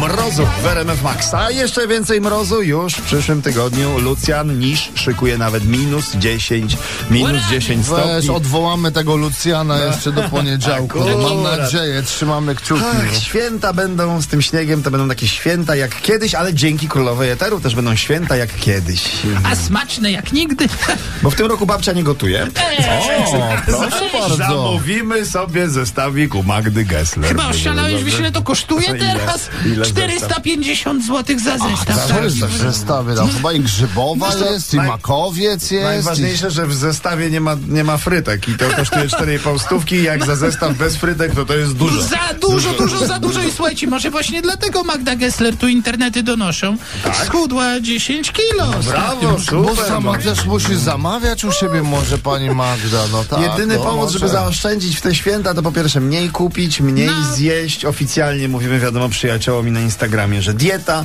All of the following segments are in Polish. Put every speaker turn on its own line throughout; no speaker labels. mrozu w RMF Max. A jeszcze więcej mrozu już w przyszłym tygodniu. Lucjan Nisz szykuje nawet minus 10, minus 10
Weź,
stopni.
odwołamy tego Lucjana jeszcze do poniedziałku. Mam
No. Akurat.
nadzieję, trzymamy kciuki.
Ach, święta będą z tym śniegiem, to będą takie święta jak kiedyś, ale dzięki królowej Eteru też będą święta jak kiedyś.
A smaczne jak nigdy.
Bo w tym roku babcia nie gotuje.
O, No, proszę bardzo.
Zamówimy sobie zestawik u Magdy Gessler.
Chyba oszalałeś, wiesz ile to kosztuje
Ile?
teraz?
Ile za
450 zł za zestaw. tak?
Co jest za zestawy? Tam chyba i grzybowa
to
jest, i
naj-
makowiec jest. i-
Najważniejsze, że w zestawie nie ma, nie ma frytek i to kosztuje 4,5 stówki. Jak za zestaw bez frytek, to to jest dużo.
Za dużo, dużo, za dużo i słuchajcie, może właśnie dlatego Magda Gessler tu internety donoszą. Schudła 10 kilo.
Brawo,
Bo
super. no.
sama też musisz zamawiać u siebie może pani Magda, no tak.
Jedyny
no,
powód,
może.
żeby zaoszczędzić w te święta, to po pierwsze mniej kupić, mniej
No.
zjeść. Oficjalnie mówimy, wiadomo, przyjaciołom i na Instagramie, że dieta,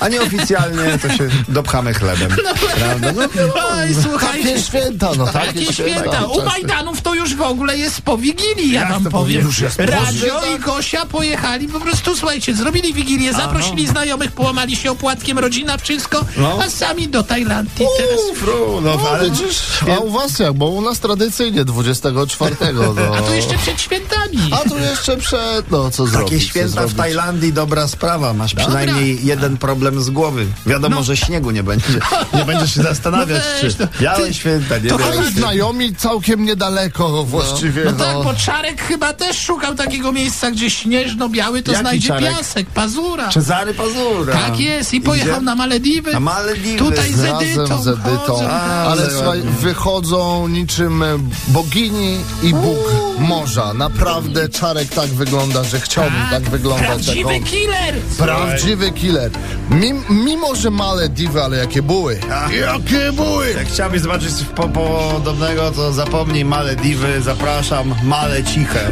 a nieoficjalnie to się dopchamy chlebem. Prawda? No,
Oj, słuchajcie.
Takie święta, no
Tak
takie,
Takie święta. U Majdanów to już w ogóle jest po Wigilii, ja,
Jak
wam
to
powiem.
powiesz, jest po
Radio i Gosia pojechali, po prostu słuchajcie, zrobili Wigilię, zaprosili znajomych, połamali się opłatkiem, rodzina, wszystko,
No.
a sami do Tajlandii teraz.
Fru, no,
No,
ale
widzisz, a u was jak? Bo u nas tradycyjnie 24. No.
A to jeszcze przed świętami.
A tu jeszcze przed, no co zrobić?
Takie
co
święta w
zrobić?
Tajlandii dobra sprawa. Masz przynajmniej jeden problem z głowy. Wiadomo, że śniegu nie będzie. Nie będziesz się zastanawiać,
No weź,
czy
no.
białe święta, nie
to
białe
Ale
chodź
święta.
znajomi całkiem niedaleko właściwie.
No
No,
tak, bo Czarek chyba też szukał takiego miejsca, gdzie śnieżno-biały to
Jaki
znajdzie
Czarek?
piasek, pazura.
Cezary Pazura.
Tak jest i pojechał
Idzie?
na Malediwy.
Na Malediwy.
Tutaj z Edytą.
Razem z Edytą.
chodzą.
A,
Ale
ale
słuchaj,
ładnie.
wychodzą niczym e, bogini i Bóg morza. Naprawdę Czarek tak wygląda, że chciałbym tak, wyglądać jak
Prawdziwy
on.
killer!
Prawdziwy killer. Mim, mimo, że Malediwy, ale jakie buły.
Tak.
Jakie buły!
Jak chciałbyś zobaczyć coś po podobnego, to zapomnij Malediwy, zapraszam, Male Ciche.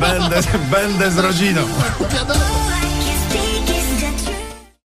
Będę, będę z rodziną.
Tak. Wiadomo.